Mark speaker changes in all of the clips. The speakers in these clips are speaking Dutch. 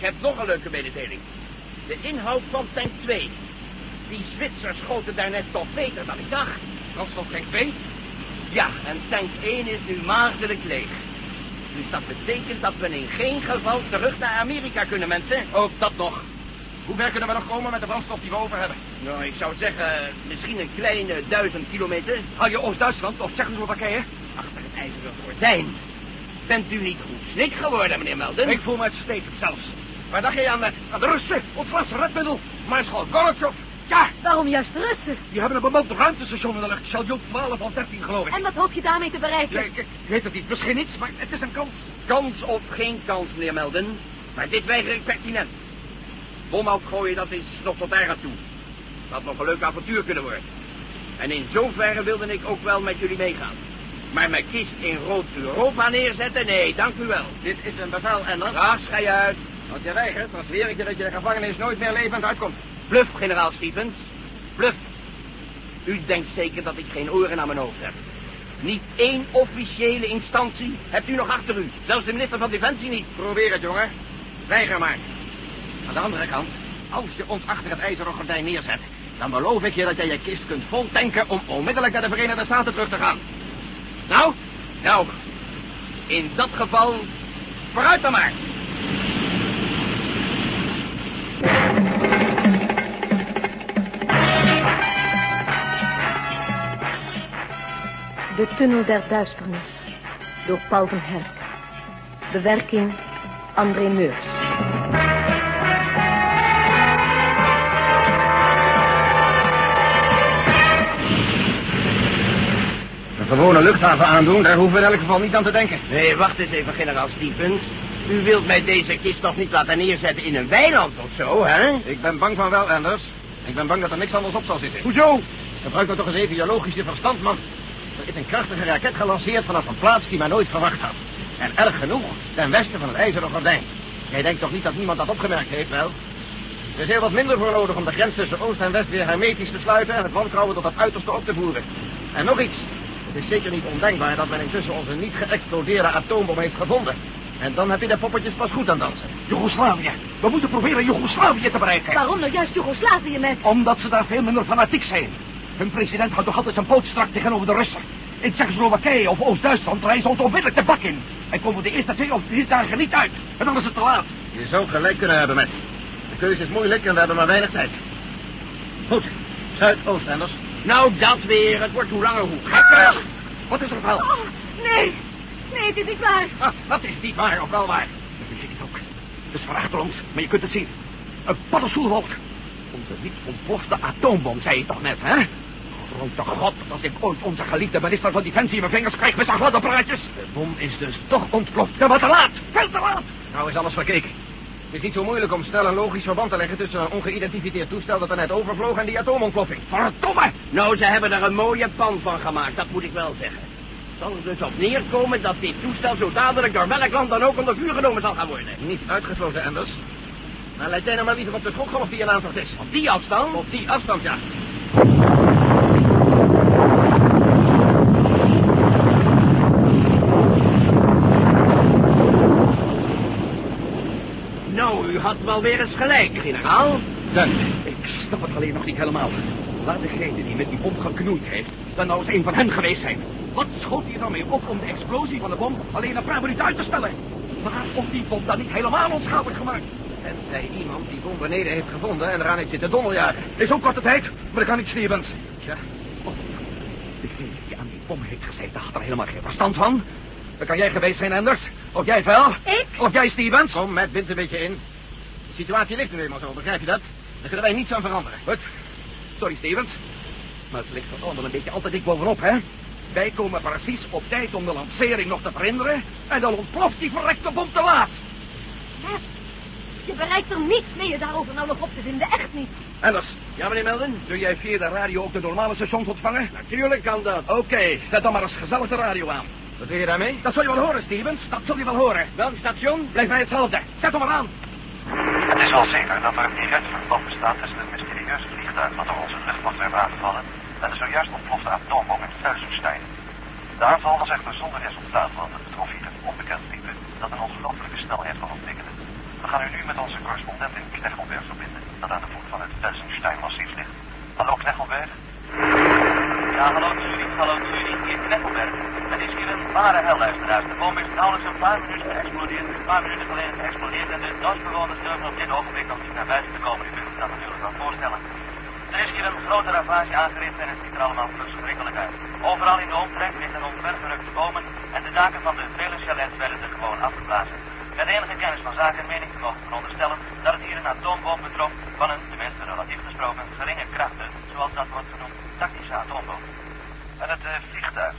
Speaker 1: heb nog een leuke mededeling. De inhoud van tank 2. Die Zwitsers schoten daarnet toch beter dan ik dacht.
Speaker 2: Dat is wel geen twee.
Speaker 1: Ja, en tank 1 is nu maagdelijk leeg. Dus dat betekent dat we in geen geval terug naar Amerika kunnen, mensen.
Speaker 2: Ook dat nog. Hoe ver kunnen we nog komen met de brandstof die we over hebben?
Speaker 1: Nou, ik zou zeggen, misschien een kleine duizend kilometer
Speaker 2: Hou je Oost-Duitsland of Tsjechoslowakije?
Speaker 1: achter het ijzeren gordijn. Bent u niet goed snik geworden, meneer Melden?
Speaker 2: Ik voel me uitstekend zelfs.
Speaker 1: Waar dacht je aan met?
Speaker 2: Aan de Russen, ons vaste redmiddel. Maarschalk Gorbachev. Ja,
Speaker 3: Waarom juist Russen?
Speaker 2: die hebben een bemand ruimtestation in de lucht. Chaldeon 12 of 13, geloof ik.
Speaker 3: En wat hoop je daarmee te bereiken?
Speaker 2: Ja, ik, ik weet het niet, misschien niets, maar het is een kans.
Speaker 1: Kans of geen kans, meneer Melden. Maar dit weiger ik pertinent. Bom uitgooien, dat is nog tot daar aan toe. Dat had nog een leuk avontuur kunnen worden. En in zoverre wilde ik ook wel met jullie meegaan. Maar mijn kist in rood Europa neerzetten? Nee, dank u wel.
Speaker 2: Dit is een bevel, en dan?
Speaker 1: Raas, ga je uit.
Speaker 2: Als je weigert, dan zweer ik je dat je de gevangenis nooit meer levend uitkomt.
Speaker 1: Bluff, generaal Stevens. Bluff. U denkt zeker dat ik geen oren aan mijn hoofd heb. Niet één officiële instantie hebt u nog achter u. Zelfs de minister van Defensie niet.
Speaker 2: Probeer het, jongen. Weiger maar.
Speaker 1: Aan de andere kant,
Speaker 2: Als je ons achter het ijzeren gordijn neerzet, dan beloof ik je dat jij je kist kunt vol tanken om onmiddellijk naar de Verenigde Staten terug te gaan.
Speaker 1: nou, nou, in dat geval, vooruit dan maar.
Speaker 4: De Tunnel der Duisternis door Paul van Herk. Bewerking André Meurs.
Speaker 2: Een gewone luchthaven aandoen, daar hoeven we in elk geval niet aan te denken.
Speaker 1: Nee, wacht eens even, generaal Stevens. U wilt mij deze kist nog niet laten neerzetten in een weiland of zo, hè?
Speaker 2: Ik ben bang van wel, Anders. Ik ben bang dat er niks anders op zal zitten.
Speaker 1: Hoezo?
Speaker 2: Gebruik dan toch eens even je logische verstand, man. Er is een krachtige raket gelanceerd vanaf een plaats die men nooit verwacht had. En erg genoeg, ten westen van het IJzeren Gordijn. Jij denkt toch niet dat niemand dat opgemerkt heeft, wel? Er is heel wat minder voor nodig om de grens tussen Oost en West weer hermetisch te sluiten... en het wantrouwen tot het uiterste op te voeren. En nog iets. Het is zeker niet ondenkbaar dat men intussen onze niet geëxplodeerde atoombom heeft gevonden. En dan heb je de poppetjes pas goed aan dansen. Joegoslavië. We moeten proberen Joegoslavië te bereiken.
Speaker 3: Waarom nou juist Joegoslavië met?
Speaker 2: Omdat ze daar veel minder fanatiek zijn. Hun president houdt toch altijd zijn poot strak tegenover de Russen. In Tsjechoslowakije of Oost-Duitsland rijden ze ons onmiddellijk de bak in. En komen we de eerste twee of drie dagen niet uit. En dan is het te laat. Je zou gelijk kunnen hebben, met. De keuze is moeilijk en we hebben maar weinig tijd. Goed. Zuidoost, Anders.
Speaker 1: Nou, dat weer. Het wordt hoe langer hoe gekker.
Speaker 2: Gekker! Wat is er wel?
Speaker 3: Oh, nee. Nee, dit is waar.
Speaker 2: Ah, dat is niet waar, of wel waar? Dat weet ik ook. Het is van achter ons, maar je kunt het zien. Een paddenstoelwolk. Onze niet ontplofte atoombom, zei je toch net, hè? Grote god, als ik ooit onze geliefde minister van Defensie in mijn vingers krijg met zijn gladde praatjes. De bom is dus toch ontploft. Ja, maar te laat. Veel te laat. Nou is alles verkeken. Het is niet zo moeilijk om snel een logisch verband te leggen tussen een ongeïdentificeerd toestel dat er net overvloog en die atoomontploffing. Verdomme!
Speaker 1: Nou, ze hebben er een mooie pan van gemaakt, dat moet ik wel zeggen. Het zal er dus op neerkomen dat dit toestel zo dadelijk door welk land dan ook onder vuur genomen zal gaan worden.
Speaker 2: Niet uitgesloten, Anders. Maar let jij nou maar liever op de schokgolf die in aantocht is.
Speaker 1: Op die afstand?
Speaker 2: Op die afstand, ja.
Speaker 1: Nou, u had wel weer eens gelijk, generaal.
Speaker 2: Dank. Ik snap het alleen nog niet helemaal. Laat degene die met die bom geknoeid heeft, dan nou eens een van hen geweest zijn. Wat schoot hij er dan mee op om de explosie van de bom alleen een paar minuten uit te stellen? Waarom die bom dan niet helemaal onschadelijk gemaakt? En zij iemand die bom beneden heeft gevonden en eraan heeft zitten donderjagen. Is ook korte tijd, maar ik kan niet Stevens. Tja, oh. degene die aan die bom heeft gezeten had er helemaal geen verstand van. Dat kan jij geweest zijn, Anders. Of jij, Vel.
Speaker 3: Ik?
Speaker 2: Of jij, Stevens. Kom, Matt, wind een beetje in. De situatie ligt nu eenmaal zo, begrijp je dat? Daar kunnen wij niets aan veranderen. Goed. Sorry, Stevens. Maar het ligt er allemaal een beetje altijd dik bovenop, hè? Wij komen precies op tijd om de lancering nog te verhinderen... en dan ontploft die verrekte bom te laat.
Speaker 3: Hè? Je bereikt er niets mee je daarover nou nog op te vinden. Echt niet.
Speaker 2: Anders, ja, meneer Melden? Kun jij via de radio ook de normale stations ontvangen? Natuurlijk kan dat. Oké, zet dan maar eens gezellig de radio aan. Wat wil je daarmee? Dat zul je wel horen, Stevens. Dat zul je wel horen.
Speaker 1: Welk station?
Speaker 2: Blijf mij hetzelfde. Zet hem maar aan.
Speaker 5: Het is wel zeker dat er een direct verband bestaat tussen het mysterieuze vliegtuig dat door onze luchtmacht werd aangevallen en de zojuist ontplofte atoombom in Zuid-Soestijn. De aanval was echter zonder resultaat, want het betrof hier een onbekend type dat een ongelooflijke snelheid kon ontwikkelen. Een
Speaker 6: gaan u nu met onze correspondent in Knechelberg verbinden, dat aan de voet van het Felsenstein-massief ligt. Hallo Knechelberg.
Speaker 7: Ja, hallo Zurich, hallo Zurich, hier is Kneckelberg. Het is hier een ware hel, luisteraars. De bom is nauwelijks een paar minuten geëxplodeerd, een paar minuten geleden geëxplodeerd en de dorpsbewoners durven op dit ogenblik nog niet naar buiten te komen. U kunt het dat natuurlijk wel voorstellen. Er is hier een grote ravage aangericht en het ziet er allemaal verschrikkelijk uit. Overal in de omtrek liggen ontwerpverrukte bomen en de daken van de vele chalets werden er gewoon afgeblazen. Met enige kennis van zaken meen ik te mogen veronderstellen dat het hier een atoombom betrof van een, tenminste relatief gesproken, geringe krachten, zoals dat wordt genoemd, tactische atoombom.
Speaker 6: En het eh, vliegtuig.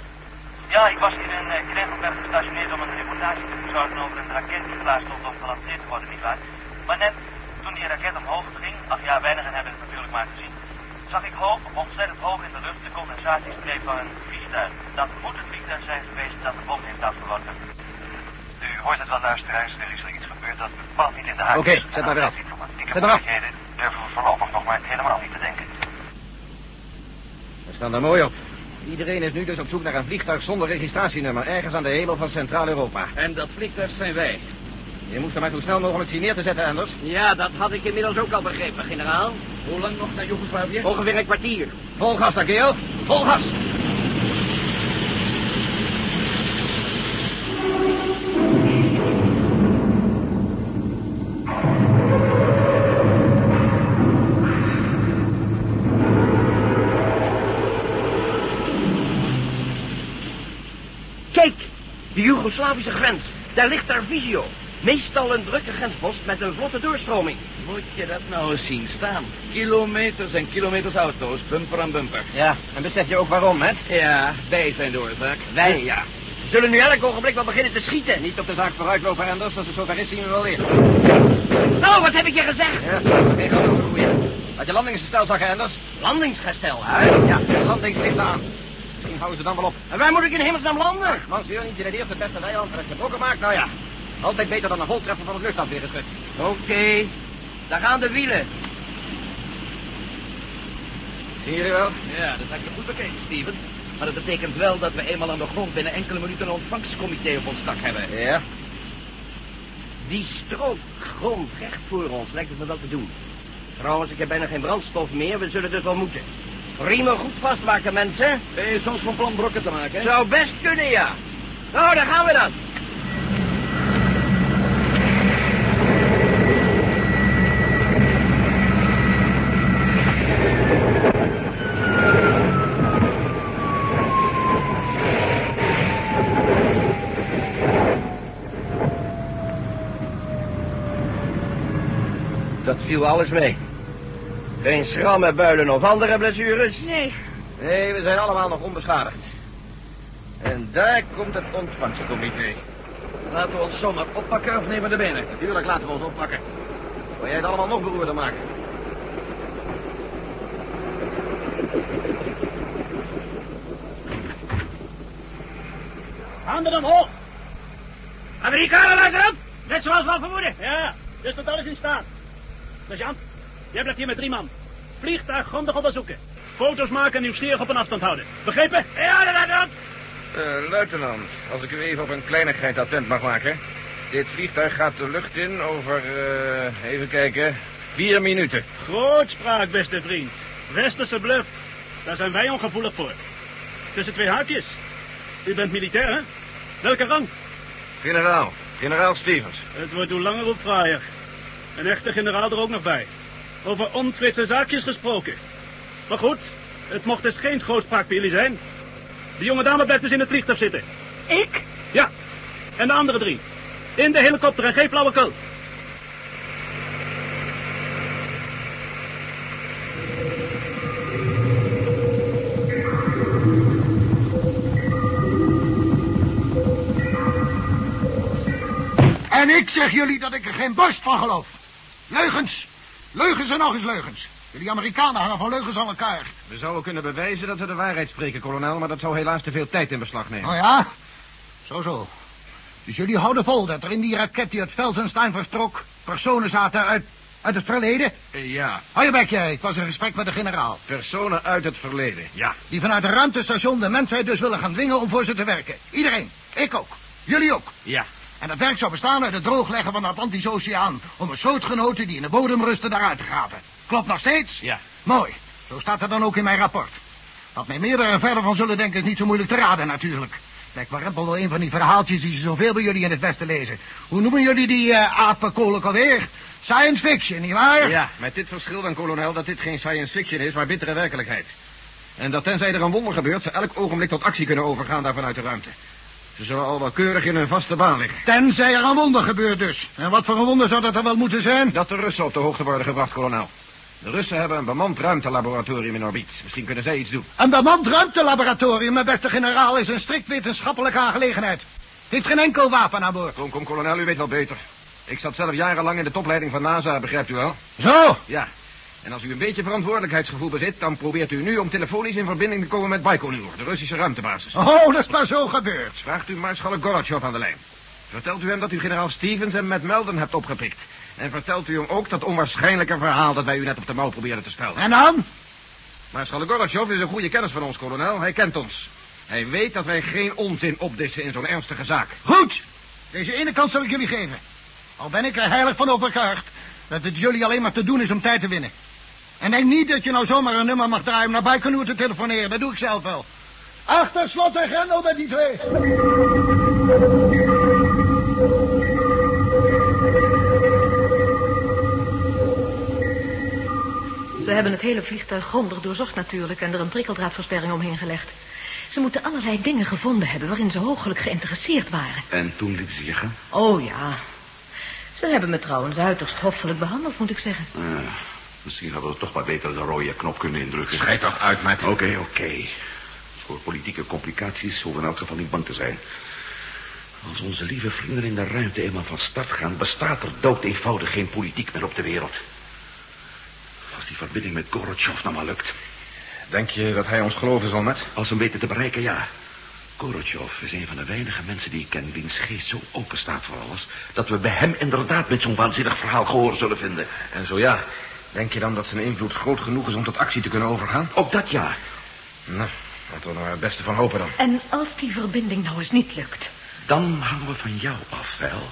Speaker 7: Ja, ik was hier in eh, Kregelberg gestationeerd om een reportage te verzorgen over een raket die klaar stond om gelanceerd te worden, nietwaar? Maar net toen die raket omhoog ging, ach ja, weinigen hebben het natuurlijk maar gezien, zag ik hoog, ontzettend hoog in de lucht, de condensatiestreep van een vliegtuig. Dat moet het vliegtuig zijn geweest dat de bom heeft afgeworpen.
Speaker 6: U hoort het wel, luisteraars. Er is er iets gebeurd dat bepaald niet in de haak
Speaker 8: Oké,
Speaker 6: is.
Speaker 8: zet
Speaker 6: En aan
Speaker 8: maar weer af.
Speaker 6: diplomatieke
Speaker 8: Zet maar af.
Speaker 6: moeilijkheden durven we voorlopig nog maar helemaal niet te denken.
Speaker 8: We staan er mooi op. Iedereen is nu dus op zoek naar een vliegtuig zonder registratienummer... ergens aan de hemel van Centraal-Europa.
Speaker 2: En dat vliegtuig zijn wij.
Speaker 8: Je moest hem maar zo snel mogelijk zien neer te zetten, Anders.
Speaker 2: Ja, dat had ik inmiddels ook al begrepen, generaal.
Speaker 8: Hoe lang nog naar Joegoslavië?
Speaker 2: Ongeveer een kwartier.
Speaker 8: Vol gas dan, kerel. Vol gas.
Speaker 2: Kijk, de Joegoslavische grens. Daar ligt daar Visio. Meestal een drukke grenspost met een vlotte doorstroming.
Speaker 9: Moet je dat nou eens zien staan? Kilometers en kilometers auto's, bumper aan bumper.
Speaker 8: Ja, en besef je ook waarom, hè?
Speaker 9: Ja, wij zijn de oorzaak.
Speaker 8: Wij, ja. We zullen nu elk ogenblik wel beginnen te schieten. Niet op de zaak vooruitlopen, Anders. Als het zover is, zien we wel weer.
Speaker 2: Nou, wat heb ik je gezegd?
Speaker 8: Ja, geen grote goeie. Had je landingsgestel zag, Anders?
Speaker 2: Landingsgestel, hè?
Speaker 8: Ja, landing ligt aan. Misschien houden ze dan wel op.
Speaker 2: En waar moet ik in hemelsnaam landen?
Speaker 8: Monsieur, niet in het eerste beste weiland dat het gebroken maakt, nou ja. Altijd beter dan een voltreffer van het luchtafweergeschut.
Speaker 2: Oké, daar gaan de wielen.
Speaker 8: Zien jullie wel?
Speaker 9: Ja, dat heb je goed bekeken, Stevens. Maar dat betekent wel dat we eenmaal aan de grond binnen enkele minuten een ontvangstcomité op ons dak hebben.
Speaker 8: Ja.
Speaker 2: Die strook grond recht voor ons lijkt het me wel te doen. Trouwens, ik heb bijna geen brandstof meer, we zullen dus wel moeten. Riemen goed vastmaken, mensen.
Speaker 9: Ben je soms van plan brokken te maken, hè?
Speaker 2: Zou best kunnen, ja. Nou, daar gaan we dan. Dat viel alles mee. Geen schrammen, builen of andere blessures.
Speaker 4: Nee,
Speaker 8: Nee, we zijn allemaal nog onbeschadigd. En daar komt het ontvangstcomité.
Speaker 9: Laten we ons zomaar oppakken of nemen de benen.
Speaker 8: Natuurlijk laten we ons oppakken. Wil jij het allemaal nog beroerder maken?
Speaker 10: Handen omhoog.
Speaker 2: Amerikanen, luister op! Net zoals we al vermoeden.
Speaker 10: Ja, dus tot alles in staat. Sergeant, jij blijft hier met drie man. Vliegtuig grondig onderzoeken. Foto's maken en nieuwsgierig op een afstand houden. Begrepen?
Speaker 2: Ja, luister op!
Speaker 11: Eh, luitenant, als ik u even op een kleinigheid attent mag maken. Dit vliegtuig gaat de lucht in over, eh, even kijken, vier minuten.
Speaker 10: Grootspraak, beste vriend. Westerse bluff. Daar zijn wij ongevoelig voor. Tussen twee haakjes. U bent militair, hè? Welke rang?
Speaker 11: Generaal, generaal Stevens.
Speaker 10: Het wordt hoe langer hoe fraaier. Een echte generaal er ook nog bij. Over onfrisse zaakjes gesproken. Maar goed, het mocht dus geen grootspraak bij jullie zijn. De jonge dame blijft dus in het vliegtuig zitten.
Speaker 4: ik?
Speaker 10: Ja, en de andere drie. In de helikopter en geen flauwekul.
Speaker 8: En ik zeg jullie dat ik er geen borst van geloof. Leugens. Leugens en nog eens leugens. Jullie Amerikanen hangen van leugens aan elkaar.
Speaker 11: We zouden kunnen bewijzen dat we de waarheid spreken, kolonel, maar dat zou helaas te veel tijd in beslag nemen.
Speaker 8: Nou ja, zo zo. Dus jullie houden vol dat er in die raket die uit Felsenstein vertrok... personen zaten uit, uit het verleden?
Speaker 11: Eh, ja,
Speaker 8: Hou je bek jij, ik was in gesprek met de generaal.
Speaker 11: personen uit het verleden, ja.
Speaker 8: Die vanuit het ruimtestation de mensheid dus willen gaan dwingen om voor ze te werken. Iedereen, ik ook, jullie ook.
Speaker 11: Ja.
Speaker 8: En dat werk zou bestaan uit het droogleggen van de Atlantische Oceaan... om een schrootgenoten die in de bodem rusten daaruit te graven. Klopt nog steeds?
Speaker 12: Ja.
Speaker 8: Mooi. Zo staat het dan ook in mijn rapport. Wat mij meer en verder van zullen denken is niet zo moeilijk te raden natuurlijk. Lijkt me Rempel wel een van die verhaaltjes die ze zoveel bij jullie in het Westen lezen. Hoe noemen jullie die eh apenkolen alweer? Science fiction, nietwaar?
Speaker 2: Ja, met dit verschil dan, kolonel, dat dit geen science fiction is, maar bittere werkelijkheid. En dat tenzij er een wonder gebeurt, ze elk ogenblik tot actie kunnen overgaan daar vanuit de ruimte. Ze zullen al wel keurig in hun vaste baan liggen.
Speaker 8: Tenzij er een wonder gebeurt dus. En wat voor een wonder zou dat dan wel moeten zijn?
Speaker 2: Dat de Russen op de hoogte worden gebracht, kolonel. De Russen hebben een bemand ruimtelaboratorium in orbiet. Misschien kunnen zij iets doen.
Speaker 8: Een bemand ruimtelaboratorium, mijn beste generaal, is een strikt wetenschappelijke aangelegenheid. Heeft geen enkel wapen aan boord.
Speaker 2: Kom, kom, kolonel, u weet wel beter. Ik zat zelf jarenlang in de topleiding van NASA, begrijpt u wel?
Speaker 8: Zo?
Speaker 2: Ja. En als u een beetje verantwoordelijkheidsgevoel bezit, dan probeert u nu om telefonisch in verbinding te komen met Baikonur, de Russische ruimtebasis.
Speaker 8: Oh, dat is maar zo gebeurd.
Speaker 2: Vraagt u Maarschalk Gorachov aan de lijn. Vertelt u hem dat u generaal Stevens en Matt Melden hebt opgepikt. En vertelt u hem ook dat onwaarschijnlijke verhaal dat wij u net op de mouw probeerden te stellen.
Speaker 8: En dan?
Speaker 2: Maarschalk Gorachov is een goede kennis van ons, kolonel. Hij kent ons. Hij weet dat wij geen onzin opdissen in zo'n ernstige zaak.
Speaker 8: Goed. Deze ene kans zal ik jullie geven. Al ben ik er heilig van overtuigd dat het jullie alleen maar te doen is om tijd te winnen. En denk niet dat je nou zomaar een nummer mag draaien om naar Baikonur te telefoneren. Dat doe ik zelf wel. Achter slot en grendel bij die twee.
Speaker 4: Ze hebben het hele vliegtuig grondig doorzocht natuurlijk en er een prikkeldraadversperring omheen gelegd. Ze moeten allerlei dingen gevonden hebben waarin ze hooglijk geïnteresseerd waren.
Speaker 12: En toen liet ze je gaan?
Speaker 4: Oh ja. Ze hebben me trouwens uiterst hoffelijk behandeld, moet ik zeggen.
Speaker 13: misschien hadden we toch maar beter de rode knop kunnen indrukken.
Speaker 14: Schijt toch uit, Matt.
Speaker 13: Oké, oké. Voor politieke complicaties hoeven we in elk geval niet bang te zijn. Als onze lieve vrienden in de ruimte eenmaal van start gaan... bestaat er dood eenvoudig geen politiek meer op de wereld. Als die verbinding met Gorotjov nou maar lukt.
Speaker 14: Denk je dat hij ons geloven zal, Matt?
Speaker 13: Als we hem weten te bereiken, ja. Gorotjov is een van de weinige mensen die ik ken... wiens geest zo open staat voor alles... dat we bij hem inderdaad met zo'n waanzinnig verhaal gehoor zullen vinden.
Speaker 2: En zo ja. Denk je dan dat zijn invloed groot genoeg is om tot actie te kunnen overgaan?
Speaker 13: Ook dat ja.
Speaker 2: Nou, laten we er maar het beste van hopen dan.
Speaker 4: En als die verbinding nou eens niet lukt?
Speaker 13: Dan hangen we van jou af, wel.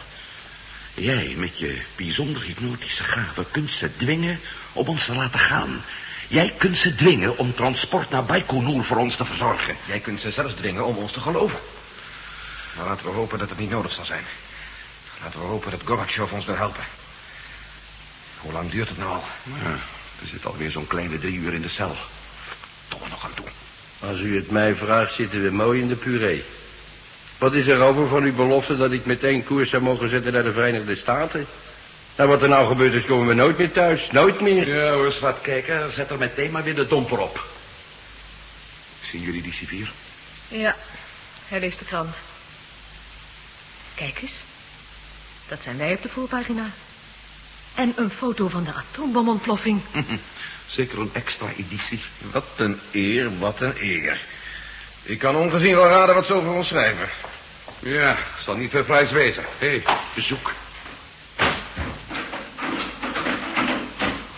Speaker 13: Jij met je bijzonder hypnotische gave kunt ze dwingen om ons te laten gaan. Jij kunt ze dwingen om transport naar Baikonur voor ons te verzorgen.
Speaker 2: Jij kunt ze zelfs dwingen om ons te geloven. Maar laten we hopen dat het niet nodig zal zijn. Laten we hopen dat Gorbachev ons wil helpen. Hoe lang duurt het nou al?
Speaker 13: Ja, we zitten alweer zo'n kleine drie uur in de cel. Toch nog aan toe.
Speaker 15: Als u het mij vraagt, zitten we mooi in de puree. Wat is er over van uw belofte dat ik meteen koers zou mogen zetten naar de Verenigde Staten? Nou, wat er nou gebeurd is, komen we nooit meer thuis. Nooit meer.
Speaker 13: Ja, hoor eens wat kijken. Zet er meteen maar weer de domper op. Zien jullie die civier?
Speaker 4: Ja, hij leest de krant. Kijk eens. Dat zijn wij op de voorpagina. En een foto van de atoombomontploffing.
Speaker 13: Zeker een extra editie.
Speaker 2: Wat een eer, wat een eer. Ik kan ongezien wel raden wat ze over ons schrijven. Ja, zal niet veel prijs wezen.
Speaker 13: Hé, hey, bezoek.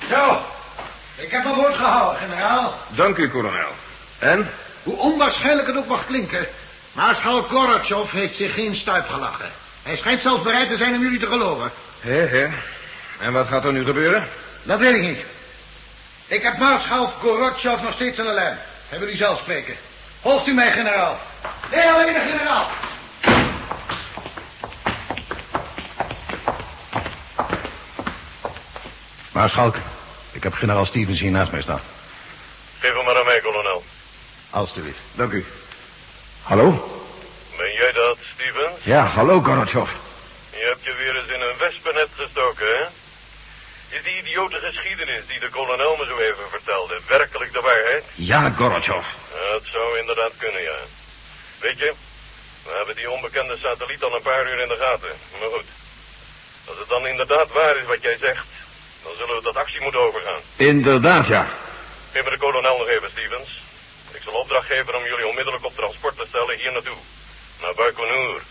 Speaker 8: Zo. Ik heb mijn woord gehouden, generaal.
Speaker 2: Dank u, kolonel. En?
Speaker 8: Hoe onwaarschijnlijk het ook mag klinken. Maarschalk Gorbachev heeft zich geen stuip gelachen. Hij schijnt zelfs bereid te zijn om jullie te geloven.
Speaker 2: Hé, hé. En wat gaat er nu gebeuren?
Speaker 8: Dat weet ik niet. Ik heb Maarschalk Gorbachev nog steeds aan de lijn. Hij wil u zelf spreken. Volgt u mij, generaal. Nee, alleen de generaal.
Speaker 13: Maarschalk, ik heb generaal Stevens hier naast mij staan.
Speaker 10: Geef hem maar aan mij, kolonel.
Speaker 13: Alsjeblieft. Dank u. Hallo?
Speaker 10: Ben jij dat, Stevens?
Speaker 13: Ja, hallo, Gorotjov.
Speaker 10: Je hebt je weer eens in een wespennet gestoken, hè? Is die idiote geschiedenis die de kolonel me zo even vertelde werkelijk de waarheid?
Speaker 13: Ja, Gorotjov.
Speaker 10: Dat zou inderdaad kunnen, ja. Weet je, we hebben die onbekende satelliet al een paar uur in de gaten. Maar goed, als het dan inderdaad waar is wat jij zegt, dan zullen we tot actie moeten overgaan.
Speaker 13: Inderdaad, ja.
Speaker 10: Geef me de kolonel nog even, Stevens. Ik zal opdracht geven om jullie onmiddellijk op transport te stellen hier naartoe. Naar Baikonur.